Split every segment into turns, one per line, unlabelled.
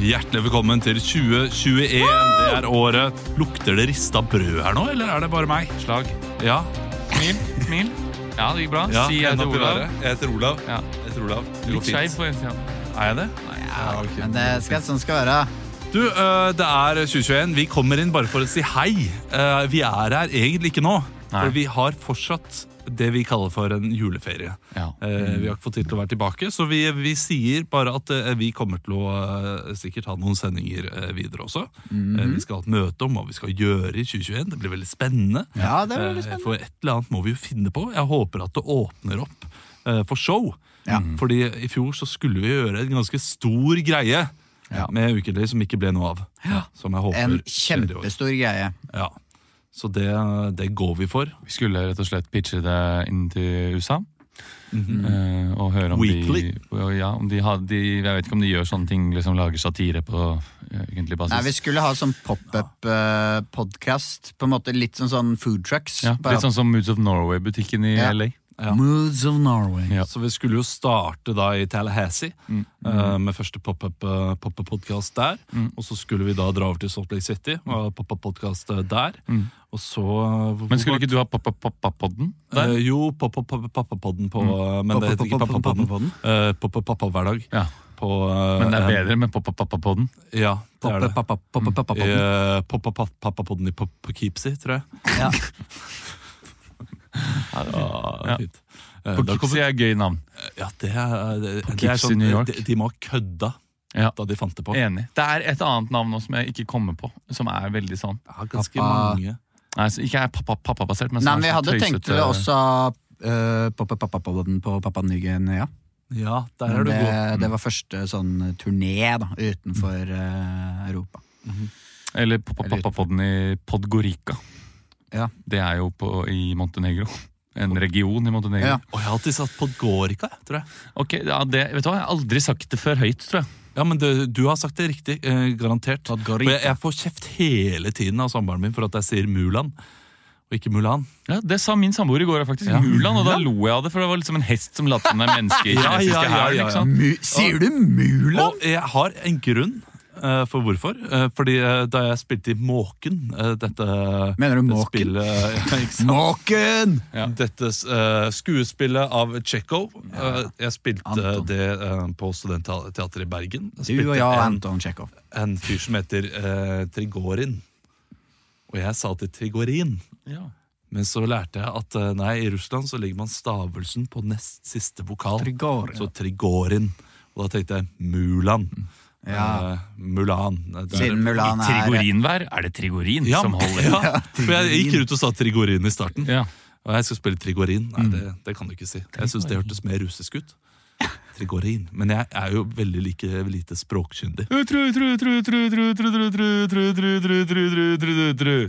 Hjertelig velkommen til 2021. Det er året. Lukter det rista brød her nå, eller er det bare meg?
Slag.
Ja.
Smil. Smil. Ja, det gikk bra.
Ja,
si jeg
hendene
til
opp i
Olav.
været. Jeg heter Olav.
Ja.
Jeg heter Olav. Det går
Litt skeiv
fint.
på innsida.
Er jeg det?
Ja,
ok.
men det skal sånn skal være.
Du, eh, det er 2021. Vi kommer inn bare for å si hei. Eh, Vi er her egentlig ikke nå,
Nei.
for vi har fortsatt det vi kaller for en juleferie.
Ja.
Eh, Vi har ikke fått tid til å være tilbake, så vi, vi sier bare at eh, vi kommer til å eh, sikkert ha noen sendinger eh, videre også.
Mhm.
Eh, Vi skal ha et møte om hva vi skal gjøre i 2021. Det blir veldig spennende.
Ja, det liksom- sånn blir veldig
Eh,
spennende.
For et eller annet må vi jo finne på. Jeg håper at det åpner opp eh, for show. Mm.
Ja.
Fordi i fjor så skulle vi gjøre en ganske stor greie
Ja.
med Ukentlig som ikke ble noe av. Som jeg håper
En
skjer i år.
kjempestor greie.
Ja. Så det, det går vi for.
Vi skulle rett og slett pitche det inn til USA. eh, og høre om
Weekly.
de Ja, om de hadde de, Jeg vet ikke om de gjør sånne ting, liksom lager satire på eh, ukentlig basis.
Nei, Vi skulle ha sånn pop-up-podkast. På en måte Litt sånn, sånn food trucks.
ja,
bare
litt sånn som Moods of Norway-butikken i
Ja.
LA.
Ja.
Moods of Norway.
Ja.
Så vi skulle jo starte da i Tallahassee eh, med første pop-up-podkast der. Og så skulle vi da dra over til Salt Lake City og ha pop-up-podkast der. Og så
Men skulle ikke du ha Pappa-podden?
Eh, jo, pappa-podden på
Mm.
eh, Men det heter ikke pappa-podden. Eh, Pappa-pappa hver dag.
Ja,
På,
men det er
eh,
bedre med Pappa-podden.
Ja, det er det.
Pop-up-pop-up-pop-up.
Eh, Pappa-pappa-podden i Pop- på Keepsy, tror jeg.
Ja.
Ja,
Ja.
fint. Eh, da kommer-
Poughkeepsie er et gøy navn.
Ja, det er, det, det er
Keepsy,
sånn,
New York.
de, de må ha kødda
Ja.
da de fant det på.
Enig. Det er et annet navn nå som jeg ikke kommer på, som er veldig sånn.
Ja, ganske
Pappa-
mange.
Nei, så ikke er pappa- pappa-basert,
sånn
men
Nei,
som er
men vi
så
hadde tenkt
tøysete-
til også uh, pop-up-pop-up-podden på Pappa Nygenia.
Ja, der er du
Men det,
god. Mm.
det var første sånn turné da, utenfor eh, Europa.
Eller pappa-podden i Podgorica.
Ja.
Det er jo på, i Montenegro. En region i Montenegro.
Ja.
Og jeg har alltid satt Podgorica, jeg, tror jeg.
Ok, ja, det, vet du hva? Jeg har aldri sagt det før høyt, tror jeg.
Ja, men du, du har sagt det riktig, eh, garantert. For jeg, jeg får kjeft hele tiden av samboeren min for at jeg sier Mulan, og ikke Mulan.
Ja, Det sa min samboer i går, faktisk. Mulan, og da lo jeg av det, for det var liksom en hest som lot som en menneske i
Ja, ja,
kinesiske
ja, ja,
hæren,
ja.
ikke sant?
Mu Sier du Mulan?
Og jeg har en grunn eh, for hvorfor. Eh, fordi eh, da jeg spilte i Måken, eh, dette
Mener du
det
Måken?
Spillet, ja, ikke sant?
Måken!
Ja.
Dette eh, skuespillet av Tsjekho. eh, jeg spilte
Anton.
det eh, på Studentteatret i Bergen. Jeg
Du og
spilte
jeg og
en,
Anton Tsjekhov.
en fyr som heter eh, Trigorin. Og jeg sa til Trigorin.
Ja.
Men så lærte jeg at eh, nei, i Russland så legger man stavelsen på nest siste vokal.
Trigorin.
Så Trigorin. Og da tenkte jeg Mulan.
Mm. Ja.
Eh, Mulan. Det er-
Siden Mulan
I
er
trigorinvær er det trigorin
ja,
som holder.
ja, for jeg gikk ut og sa Trigorin i starten.
Ja.
Og jeg skal spille Trigorin. Nei,
Mm.
det, det kan du ikke si. Jeg syns det hørtes mer russisk ut. Trigorin. Men jeg er jo veldig like lite språkkyndig.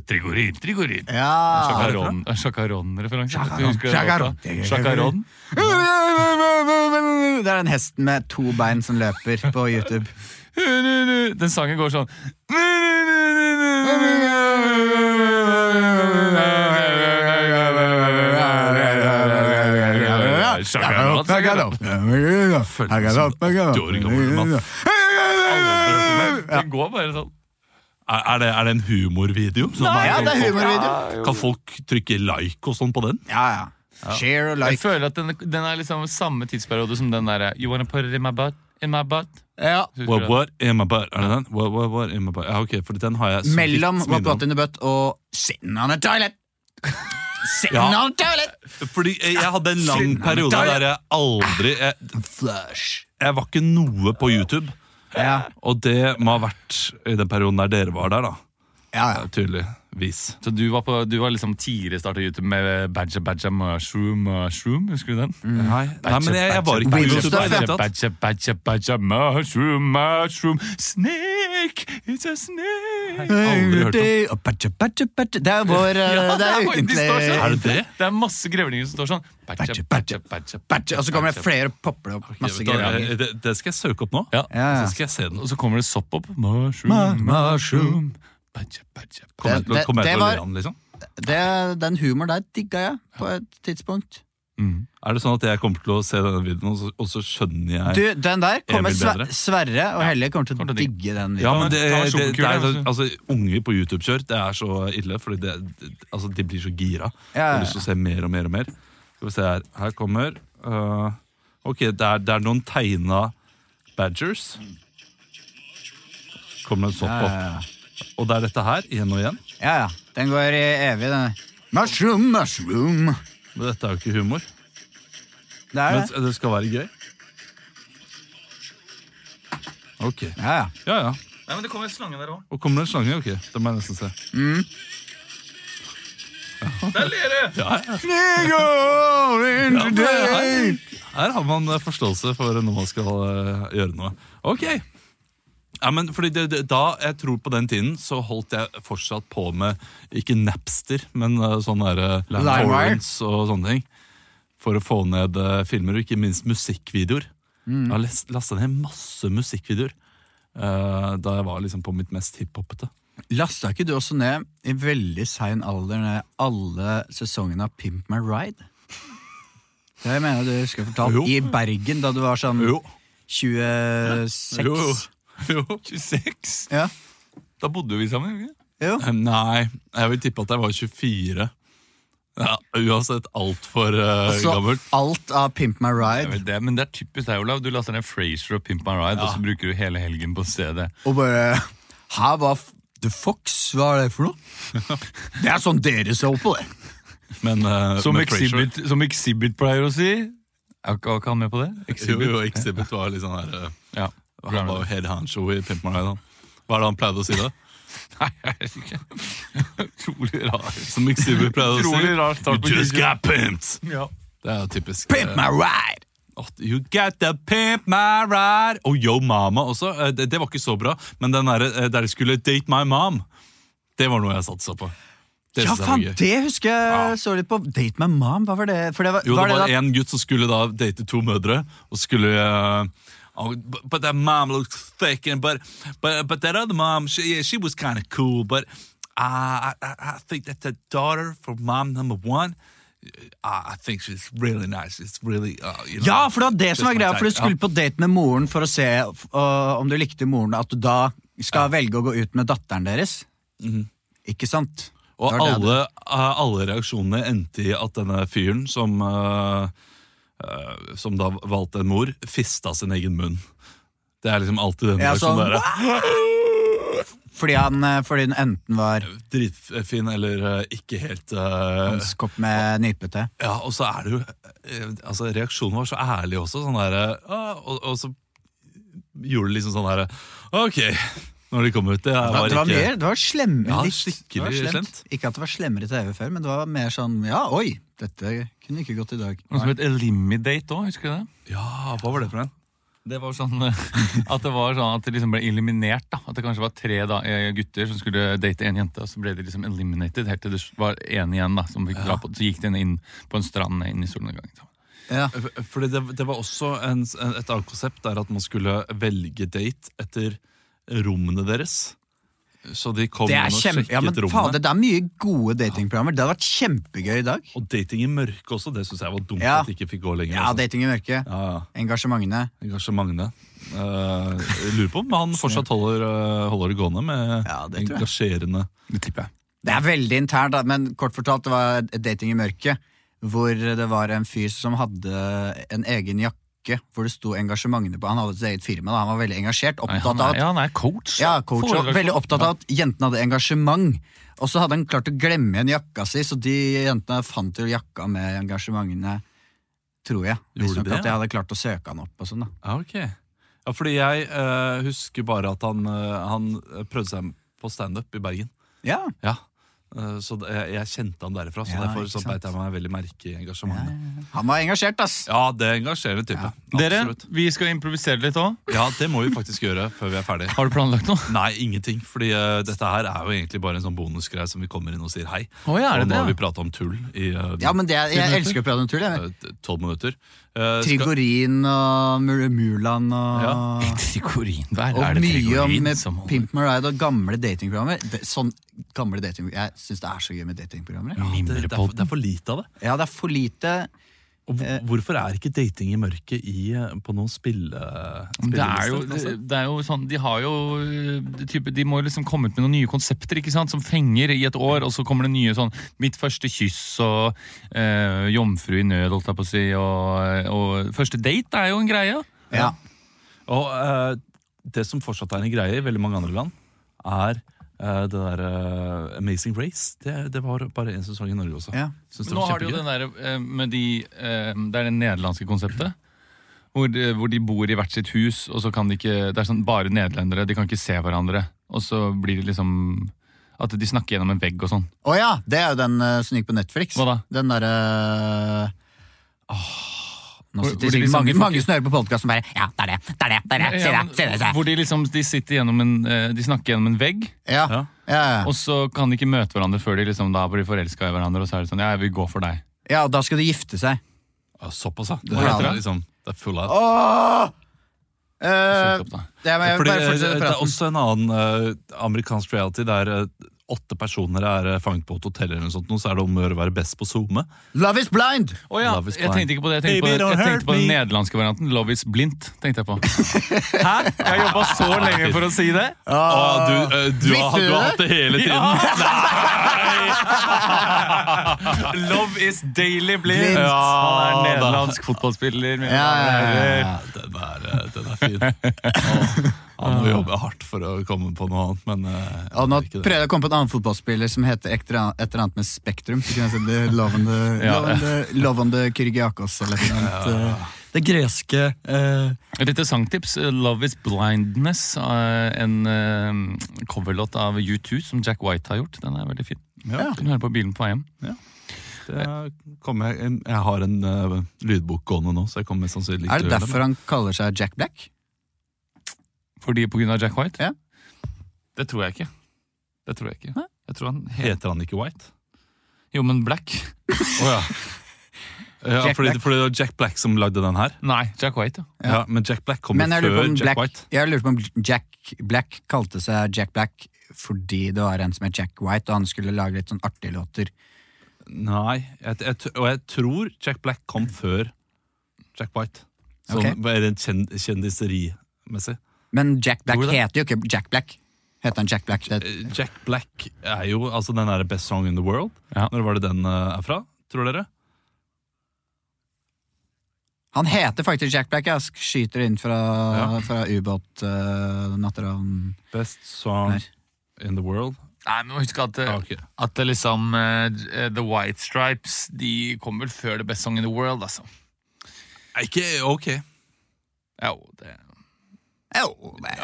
Trigorin, trigorin.
Ja!
Sjakaron- Sjakaron-referanse.
Sjakaron.
Husker du
Sjakaron.
låta? Sjakaron.
Det er den hesten med to bein som løper på YouTube.
Den sangen går sånn Sjakaron, sjakaron. Det går bare sånn.
Er, er, det, er det en humorvideo? Sånn at
Ja,
man
det er
kan-
humorvideo.
Kan folk trykke like og sånn på den?
Ja, ja. Share og
Jeg
like.
føler at den, den er liksom samme tidsperiode som den derre You wanna put it in my butt? In my butt?
Ja.
What, what am I about? Er det den? What, what, what am I about? Ja, ok, for den har jeg så
Mellom
vidt
What
minne om.
Got In The Butt og Sitting On A Toilet. Sitting
Ja.
On A Toilet!
Fordi eh, jeg hadde en lang periode der jeg aldri Jeg,
Flush.
jeg var ikke noe på YouTube.
Ja,
Og det må ha vært i den perioden der dere var der, da.
ja. ja.
Tydeligvis.
Så du var, på, du var liksom tidligere startet YouTube med Badja Badja Mushroom Mushroom, husker du den?
Mm.
Nei, nei, men jeg, jeg var ikke på
Badger,
YouTube. da, i det
badger,
hele tatt.
Badja Badja Badja Mushroom Mushroom Snake, it's a snake
Aldri hørt om.
Og badja, badja, badja. Det er vår eh,
Ja,
Det er
det er- de
ukentlig
står sånn.
Er det det?
Det er masse grevlinger som står sånn Badja
Badja,
Badja
badja,
Badja
badja. Og så kommer det flere og popper det opp. Masse
Da, eh,
greier.
det, det skal jeg søke opp nå.
Ja,
Ja, ja.
Så skal jeg se den.
og så kommer det sopp opp Mushroom,
Ma-
mushroom Badja Badja
Kommer jeg til å-
Det-
kommer jeg
det
til å
var-
le av den, liksom?
Det, den humoren der digga jeg på et tidspunkt.
Er det sånn at jeg kommer til å se denne videoen, og så, og så skjønner jeg
Du, den der kommer
Emil
Sve
bedre.
Sverre og Helle kommer til å
kommer til å digge.
digge den
Ja,
videoen.
men det, det,
Ta
det er,
sjokkule,
altså, Unger på YouTube-kjør, det er så ille. Fordi det, det, altså, de blir så gira. Jeg
Ja, ja,
har lyst til å se mer og mer og mer. Skal vi se her. Her kommer øh, Ok, det er, det er noen tegna badgers. Kommer en sopp
Ja, ja,
opp. Og det er dette her, igjen og igjen.
Eh, Ja, ja. Den går i evig, den der. Mushroom, mushroom.
Men dette er jo ikke humor.
Det er
Men
det.
det skal være gøy. Ok.
Ja, ja.
Ja, ja.
Nei, men Det kommer en slange der òg.
Og kommer det en slange? Ok, det må jeg nesten se.
Der ler jeg!
Sneak over into day.
Her, her har man eh, forståelse for når man skal eh, gjøre noe. Ok. Ja, men fordi det, det, Da jeg tror på den tiden, så holdt jeg fortsatt på med ikke Napster, men eh, sånne der, eh,
Limewire.
torrents og sånne ting. For å få ned eh, filmer, og ikke minst musikkvideoer. Jeg har lest- lasta ned masse musikkvideoer eh, da jeg var liksom på mitt mest hiphopete.
Lasta ikke du også ned i veldig sein alder ned alle sesongene av Pimp My Ride? Det mener jeg du husker jeg fortalt.
Jo.
I Bergen, da du var sånn 26.
Jo, jo. jo.
26?
Ja.
Da bodde jo vi sammen. ikke?
Jo.
Eh, Nei, jeg vil tippe at jeg var 24. Ja, uansett altfor uh,
Altså,
Så
gammelt.
alt av Pimp My
Jeg
Ride
vet det, men det er typisk deg, Olav. Du laster ned Frasier og Pimp My Ride, og så bruker du hele helgen på å se det.
og bare Her var f- The Fox, hva er det for noe? Det er sånn dere ser på det.
Men, eh,
Som
men Frasier-
Exhibit, som exhibit pleier å si. Er ikke er ikke han med på det?
Jo,
Exhibit.
jo, Exhibit var litt sånn her eh,
Ja.
Han var jo head handshow i Pimp My Ride. han. Hva er det han pleide å si da?
Nei, jeg vet ikke. Utrolig rar.
Som Exhibit pleide å
Utrolig rar
si?
start på
You just
krigen.
got pimped!
Ja.
Det er jo typisk.
Pimp My Ride!
eh, at You got the pimp my ride Og Yo Mama også. Eh, Det, det var ikke så bra, men den der, eh, der de skulle date my mom, det var noe jeg satsa på. Det
Ja,
synes jeg var
faen,
gøy.
det husker jeg så litt på. Date My Mom, hva var det? For det var,
Jo, det
det
var
da-
en gutt som skulle da date to mødre, og skulle eh, oh, but- But that mom looks thick, and but, but, but that other mom, she, yeah, she was kind of cool, but uh, I, I I think that the daughter for mom number one uh, I think she's really nice. It's really uh, you know,
Ja, for det var det som var
just my
greia, for du
type.
skulle på date med moren for å se f- øh, om du likte moren, at du da skal velge å gå ut med datteren deres.
Mhm.
Ikke sant?
Og
Det var det
alle, eh, alle reaksjonene endte i at denne fyren som, eh, eh, som da valgte en mor, fista sin egen munn. Det er liksom alltid den
Ja,
reaksjonen
sånn,
der.
jeg- Fordi, han, øh, fordi den enten var
Dritfin eller eh, ikke helt eh,
hans kopp med nypete.
Ja, og så er det jo eh, Altså, reaksjonen var så ærlig også, sånn derre «Å», og, og så gjorde det liksom sånn herre OK, når de kom ut. Det
Det
var,
var, det var
ikke
mer, det var slemme
Ja,
litt.
skikkelig
Det var
slemt.
Ikke at det var slemmere TV før, men det var mer sånn, ja, oi, dette kunne ikke gått i dag.
Noe som het Eliminate òg, husker du det?
Ja, hva var det for en?
Det var sånn eh, At det var sånn at det liksom ble eliminert. da At det kanskje var tre da, eh, gutter som skulle date en jente, og så ble de liksom eliminated helt til det var én igjen da som fikk dra på. Så gikk den inn på en liksom. strand inn i solnedgangen. sammen.
Ja.
Fordi det, det var også en, en, et annet konsept der at man skulle velge date etter rommene deres. Så de kom
Det
inn
er
og
kjempe...
sjekket
Ja, men
rommene.
faen, det er mye gode datingprogrammer. Det hadde vært kjempegøy i dag.
Og dating i mørket også, det syns jeg var dumt
Ja.
at det ikke fikk gå lenger.
Ja,
altså.
dating i mørket.
ja, ja.
Engasjementene.
Engasjementene. Uh, lurer på om han fortsatt holder, eh, holder det gående med
Ja, det tror jeg.
engasjerende
Det tipper jeg.
Det er veldig internt, da, men kort fortalt, det var et dating i mørket. Hvor det var en fyr som hadde en egen jakke hvor det sto engasjementene på. Han hadde sitt eget firma, da. han var veldig engasjert.
Nei,
Opptatt
han, er,
av at
ja, han er coach.
ja, coach, og
Foredragsholder.
veldig opptatt av at jentene hadde engasjement. Og så hadde han klart å glemme igjen jakka si, så de jentene fant jo jakka med engasjementene, tror jeg.
Gjorde
Visstnok
de det,
at jeg hadde klart å søke han opp og sånn, da.
Ja, ok. Ja, fordi jeg eh, husker bare at han, eh, han prøvde seg på standup i Bergen.
Ja,
Ja. Eh, så det- jeg, jeg kjente han derfra, så
Ja,
derfor
ikke
så
sant.
beit jeg meg veldig merke i engasjementet.
han var engasjert, ass!
Ja, det er engasjerende type.
Dere,
Absolutt.
vi skal improvisere litt òg.
Ja, det må vi faktisk gjøre før vi er ferdig.
Har du planlagt noe?
Nei, ingenting. Fordi eh, dette her er jo egentlig bare en sånn bonusgreie som vi kommer inn og sier hei.
Å, ja, er
og
det
nå har
det?
vi prata om tull i eh,
Ja, men det, jeg elsker å prate om tull. jeg.
eh, 12 minutter. Eh, skal-
Trigorin og Mul- Mulan og
Ja.
Trigorin. Hva er,
Og
er det
mye om
Trigorin
med
som holder?
Pimp My Ride og gamle datingprogrammer. Det- Sånn gamle dating Jeg syns det er så gøy med datingprogrammer. jeg.
det, det, er, for- det er for lite av det.
Ja, det er for lite
Og hvor- hvorfor er ikke dating i mørket i, eh, på noen spille...
Det er jo,
spillelister, altså?
det er jo sånn, De har jo eh, type, De må jo liksom komme ut med noen nye konsepter ikke sant, som fenger i et år, og så kommer det nye sånn 'Mitt første kyss' og eh, 'Jomfru i nød', holdt jeg på å si. Og, og 'Første date' er jo en greie.
Ja.
Og eh, det som fortsatt er en greie i veldig mange andre land, er eh, det der eh, Amazing Race. Det, det var bare en sesong i Norge også.
Ja.
Synes
Men
det
nå
var
har de jo
kjempegøy.
den der, eh, med de, eh, Det er det nederlandske konseptet. Hvor de, hvor de bor i hvert sitt hus, og så kan de ikke Det er sånn bare nederlendere, de kan ikke se hverandre. Og så blir det liksom At de snakker gjennom en vegg og sånn.
Å ja! Det er jo den eh, som gikk på Netflix.
Hva da?
Den derre Nå
Hvor-
sitter
hvor de
sikkert
liksom-
mange, mange som hører på podkast som bare Ja, det er det! Det er det! det, er det se
Ja,
det,
men
se det, se det.
Hvor de liksom de sitter gjennom en eh, De snakker gjennom en vegg,
Ja.
Ja.
Ja, ja.
og så kan de ikke møte hverandre før de liksom da blir forelska i hverandre. Og så er det sånn, ja, jeg vil gå for deg
ja, og da skal de gifte seg.
Ja, Såpass, ja. Det,
Hva heter
er
det?
liksom, det er full av
Åh! Eh,
Søk opp, da.
det må jeg
Fordi,
bare
eh, det
fortsette
er
praten.
også en annen eh, amerikansk reality der eh, åtte personer er eh, fanget på et hotell, eller noe sånt, nå, så er det om å gjøre å være best på SoMe.
Love is blind!
Å ja,
Love is
jeg
blind.
tenkte ikke på det. Jeg tenkte
Baby,
på,
don't
jeg
hurt
tenkte på den
me.
nederlandske varianten. Love is blindt, tenkte jeg på. Hæ? Jeg jobba så lenge for å si det!
Å, du, eh, du, har,
Ah. Visste du
du har
det?
hatt det hele tiden!
Love is daily
Blindt.
blindt! Ja, han er nederlandsk fotballspiller. mine
Ja, ja,
damer og
ja,
herrer.
Ja, den er, eh, den er fin. Å, Han må jobbe hardt for å komme på noe annet, men eh,
Og Ah. nå
jeg gjør ikke det.
prøvde jeg å komme på en annen fotballspiller som heter et eller annet- et eller annet med Spektrum. Så kunne jeg sett det Lovende,
Ja.
lovende, lovende Kyrgiakos eller et eller annet. eh, Det greske eh,
Et lite sangtips. eh, 'Love Is Blindness', eh, en eh, coverlåt av U2 som Jack White har gjort. Den er veldig fin.
Ja.
Kan du høre på bilen på vei hjem.
Det kommer jeg, jeg har en eh, lydbok gående nå, så jeg kommer sannsynligvis
Er det
til å gjøre
derfor han kaller seg Jack Black?
Fordi på grunn av Jack White?
Ja.
Det tror jeg ikke. Det tror jeg ikke. Jeg tror han
men
het
Heter han ikke White?
Jo, men Black.
Å ja. Ja,
Jack
fordi,
Black.
fordi det var Jack Black som lagde den her.
Nei, Jack White, ja.
Ja, Men Jack Black kom jo
Men jeg lurer på
før
om
Jack
Black,
White.
jeg lurer på om Jack Black kalte seg Jack Black fordi det var en som het Jack White, og han skulle lage litt sånn artige låter.
Nei, jeg, jeg, t- og jeg tror Jack Black kom før Jack White. Sånn
Ok.
okay. kjen, kjendiserimessig.
Men Jack Black
Tror du det?
heter jo ikke Jack Black. Heter han Jack Black? Det,
Eh, Jack Black er jo altså den der Best Song in the World.
Ja.
Når var det den eh, er fra, tror dere?
han heter faktisk Jack Black. Jeg skyter inn fra,
Ja.
fra ubåt uh, natteravn.
Best Song
Nei.
in the World.
Nei, men husk at, eh,
Ja, ok.
at det liksom eh, The White Stripes De kom vel før The Best Song in the World, altså.
Nei, Ikke ok.
Jo, det
Jo, det-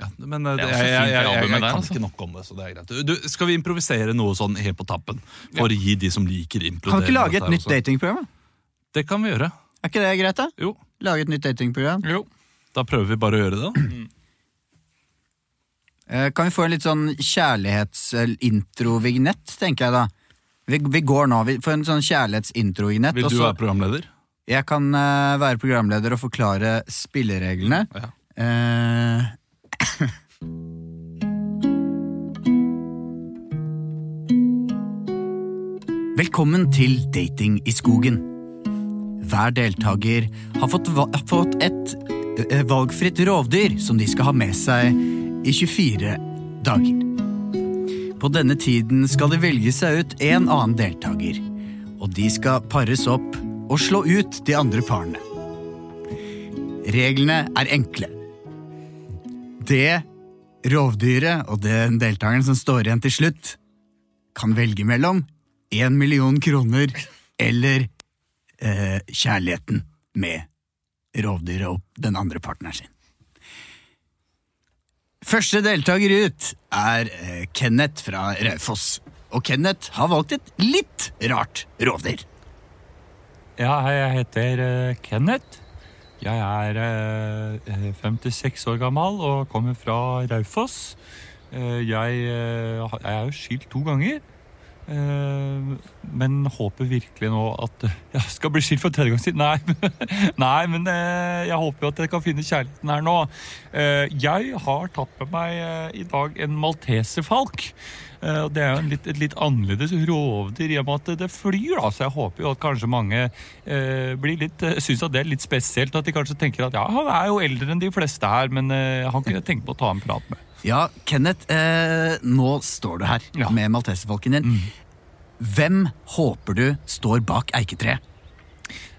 Ja, men eh, det, jeg, jeg,
Det er også fint å
jeg, jeg,
jobbe
jeg,
med der,
kan
altså.
ikke nok om det, så det er greit. Du, skal vi improvisere noe sånn helt på tappen? For å gi de som liker
Kan
implodere
vi ikke lage et
dette her
nytt
også?
datingprogram? da?
Det kan vi gjøre.
Er ikke det greit, da?
Jo,
Lage et nytt datingprogram.
Jo.
da prøver vi bare å gjøre det. da.
Eh, Kan vi få en litt sånn kjærlighetsintrovignett, tenker jeg da. Vi, vi går nå, vi får en sånn kjærlighetsintrovignett.
Vil
og
du
så-
være programleder?
Jeg kan eh, være programleder og forklare spillereglene.
Ja.
Eh, Velkommen til Dating i skogen. Hver deltaker har fått, va- har fått et eh, valgfritt rovdyr som de skal ha med seg i 24 dager. På denne tiden skal det velge seg ut en annen deltaker, og de skal pares opp og slå ut de andre parene. Reglene er enkle. Det rovdyret og den deltakeren som står igjen til slutt, kan velge mellom én million kroner eller eh, kjærligheten med rovdyret og den andre partneren sin. Første deltaker ut er eh, Kenneth fra Raufoss. Og Kenneth har valgt et litt rart rovdyr.
Ja, hei, jeg heter eh, Kenneth. Jeg er eh, eh, 56 år gammel og kommer fra Raufoss. Eh, jeg, eh, ha- jeg er jo skilt to ganger.
Eh, men håper virkelig nå at eh, jeg skal bli skilt for tredje gang siden. Nei, nei men eh, jeg håper jo at jeg kan finne kjærligheten her nå. Eh, jeg har tatt med meg eh, i dag en malteserfalk. Eh, og det er jo en litt, et litt annerledes rovdyr i og med at det flyr, da. Så jeg håper jo at kanskje mange eh, blir litt, eh, syns at det er litt spesielt. At de kanskje tenker at ja, han er jo eldre enn de fleste her, men eh, han kunne jeg tenke på å ta en prat med.
Ja, Kenneth, eh, nå står du her
Ja.
med malteserfalken din. Hvem håper du står bak eiketreet?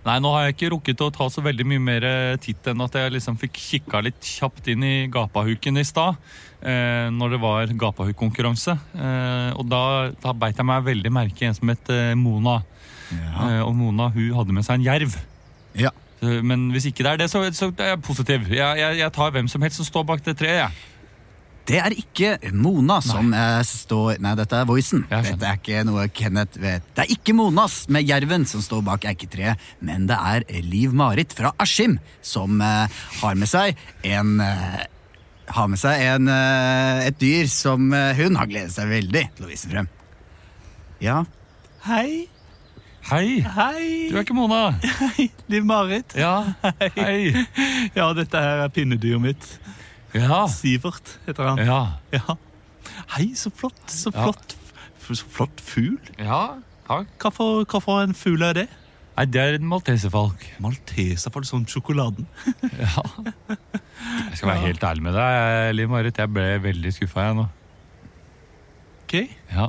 Nei, nå har jeg ikke rukket å ta så veldig mye mer eh, titt enn at jeg liksom fikk kikka litt kjapt inn i gapahuken i stad. Eh, når det var gapahuk-konkurranse. Eh, og da, da beit jeg meg veldig merke i en som het eh, Mona. Eh, og Mona hun hadde med seg en jerv.
Ja.
Så- Men hvis ikke det er det, så, så er jeg positiv. Jeg, jeg, jeg tar hvem som helst som står bak det treet. jeg.
Det er ikke Mona som eh, står Nei, dette er Voicen.
Jeg skjønner.
Dette er ikke noe Kenneth vet. Det er ikke Monas med jerven som står bak eiketreet, men det er Liv-Marit fra Askim som eh, har med seg en eh, har med seg en, eh, et dyr som eh, hun har gledet seg veldig til å vise frem. Ja,
Hei.
Hei! Du
Hei.
er ikke Mona!
Liv Marit.
Ja, hei!
Ja, dette her er pinnedyret mitt.
Ja.
Sivert heter han.
Ja.
Ja. Hei, så flott. Så
Ja.
flott. F- Så flott fugl.
ja. Takk.
Hva for, hva for en fugl er det?
Nei, det er en malteserfalk.
Malteser, for det er sånn sjokoladen.
Jeg skal være helt ærlig med deg, Liv Marit. Jeg ble veldig skuffa jeg nå.
Ok.
Ja.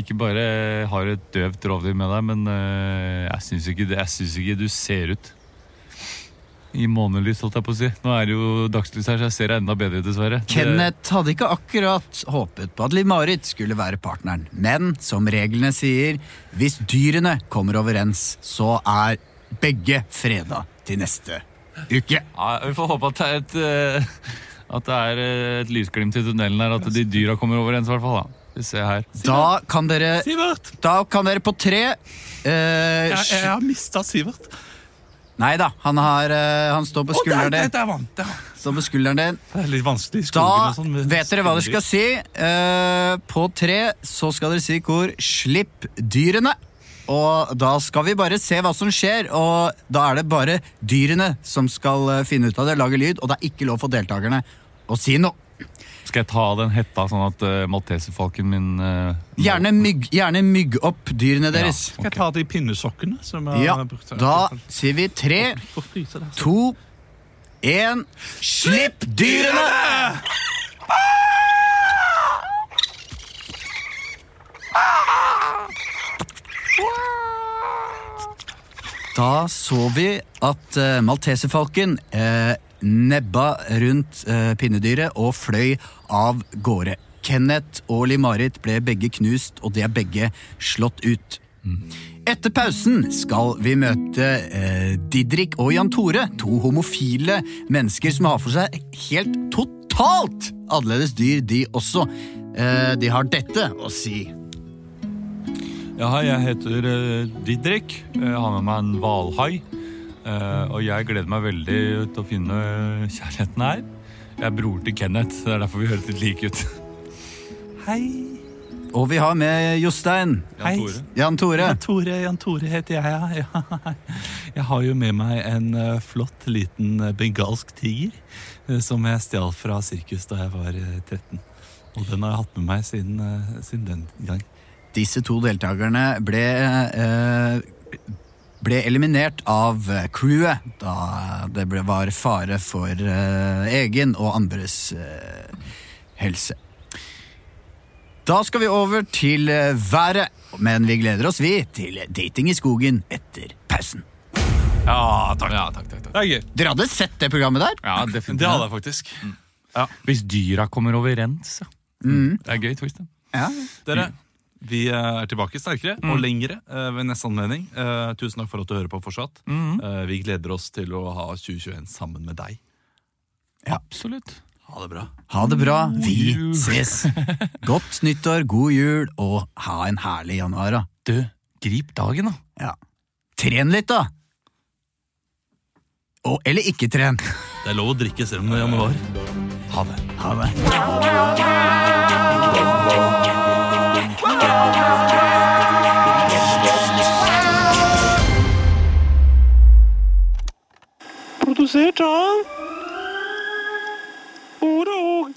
Ikke bare har du et døvt rovdyr med deg, men øh, jeg syns ikke, det- jeg syns ikke du ser ut. I månelys, holdt jeg på å si. Nå er det jo dagslys her, så jeg ser enda bedre, dessverre. Det-
Kenneth hadde ikke akkurat håpet på at Liv-Marit skulle være partneren, men som reglene sier, hvis dyrene kommer overens, så er begge freda til neste uke.
Ja, vi får håpe at det er et, øh, at det er øh, et lysglimt i tunnelen her, at de dyra kommer overens, i hvert fall. da. Vi ser her.
Da kan dere,
Sivert!
da kan dere på tre eh,
Jeg, jeg
sj-
har mista Sivert.
Nei da, han, har, eh, han står
Å,
på
der,
skulderen
der,
din.
der var han! Der. var han.
Står på skulderen din.
Det er litt vanskelig i skogen
Da
og sånn. med
vet dere hva dere skal
skoger.
si. Eh, på tre så skal dere si hvor 'slipp dyrene'. Og da skal vi bare se hva som skjer, og da er det bare dyrene som skal eh, finne ut av det, lage lyd, og det er ikke lov for deltakerne å si noe.
Skal jeg ta av den hetta, sånn at øh, malteserfalken min øh, må-
Gjerne mygg, gjerne mygg opp dyrene deres.
Skal jeg ta de pinnesokkene som jeg
Ja,
har brukt? her?
da sier vi tre,
Får fryse der.
to, én Slipp dyrene! Da så vi at eh, malteserfalken eh, nebba rundt eh, pinnedyret og fløy av gårde. Kenneth og Liv-Marit ble begge knust, og de er begge slått ut. Etter pausen skal vi møte eh, Didrik og Jan Tore, to homofile mennesker som har for seg helt totalt annerledes dyr, de også. Eh, de har dette å si.
Ja, hei, jeg heter eh, Didrik. Jeg har med meg en hvalhai. Eh, og jeg gleder meg veldig til å finne kjærligheten her. Jeg er bror til Kenneth, det er derfor vi høres litt like ut.
Hei.
Og vi har med Jostein.
Hei.
Jan Tore.
Jan Tore.
Jan Tore, Jan Tore heter jeg, ja. ja. Jeg har jo med meg en eh, flott liten eh, bengalsk tiger eh, som jeg stjal fra sirkus da jeg var eh, 13. Og den har jeg hatt med meg siden, eh, siden den gang.
Disse to deltakerne ble eh, ble eliminert av eh, crewet da det ble, var fare for eh, egen og andres eh, helse. Da skal vi over til eh, været, men vi gleder oss, vi, til Dating i skogen etter pausen.
Ja, takk. Ja, takk, takk,
Det er gøy.
Dere hadde sett det programmet der?
Ja, definitivt.
jeg faktisk.
Hvis dyra kommer overens, ja.
Mm.
Det er gøy twist. da.
Ja.
Dere, vi eh, er tilbake sterkere og lengre eh, ved neste anledning. Eh, Tusen takk for at du hører på fortsatt.
Mm.
Eh, Vi gleder oss til å ha 2021 sammen med deg.
Absolutt.
Ha det bra.
Ha det bra. Vi
jul.
ses. Godt nyttår, god jul, og ha en herlig januar. da.
Du, grip dagen, da.
Ja. Tren litt, da! Og, eller ikke tren.
Det er lov å drikke selv om det er januar.
Ha det. Ha det.
ser tann. Ordet og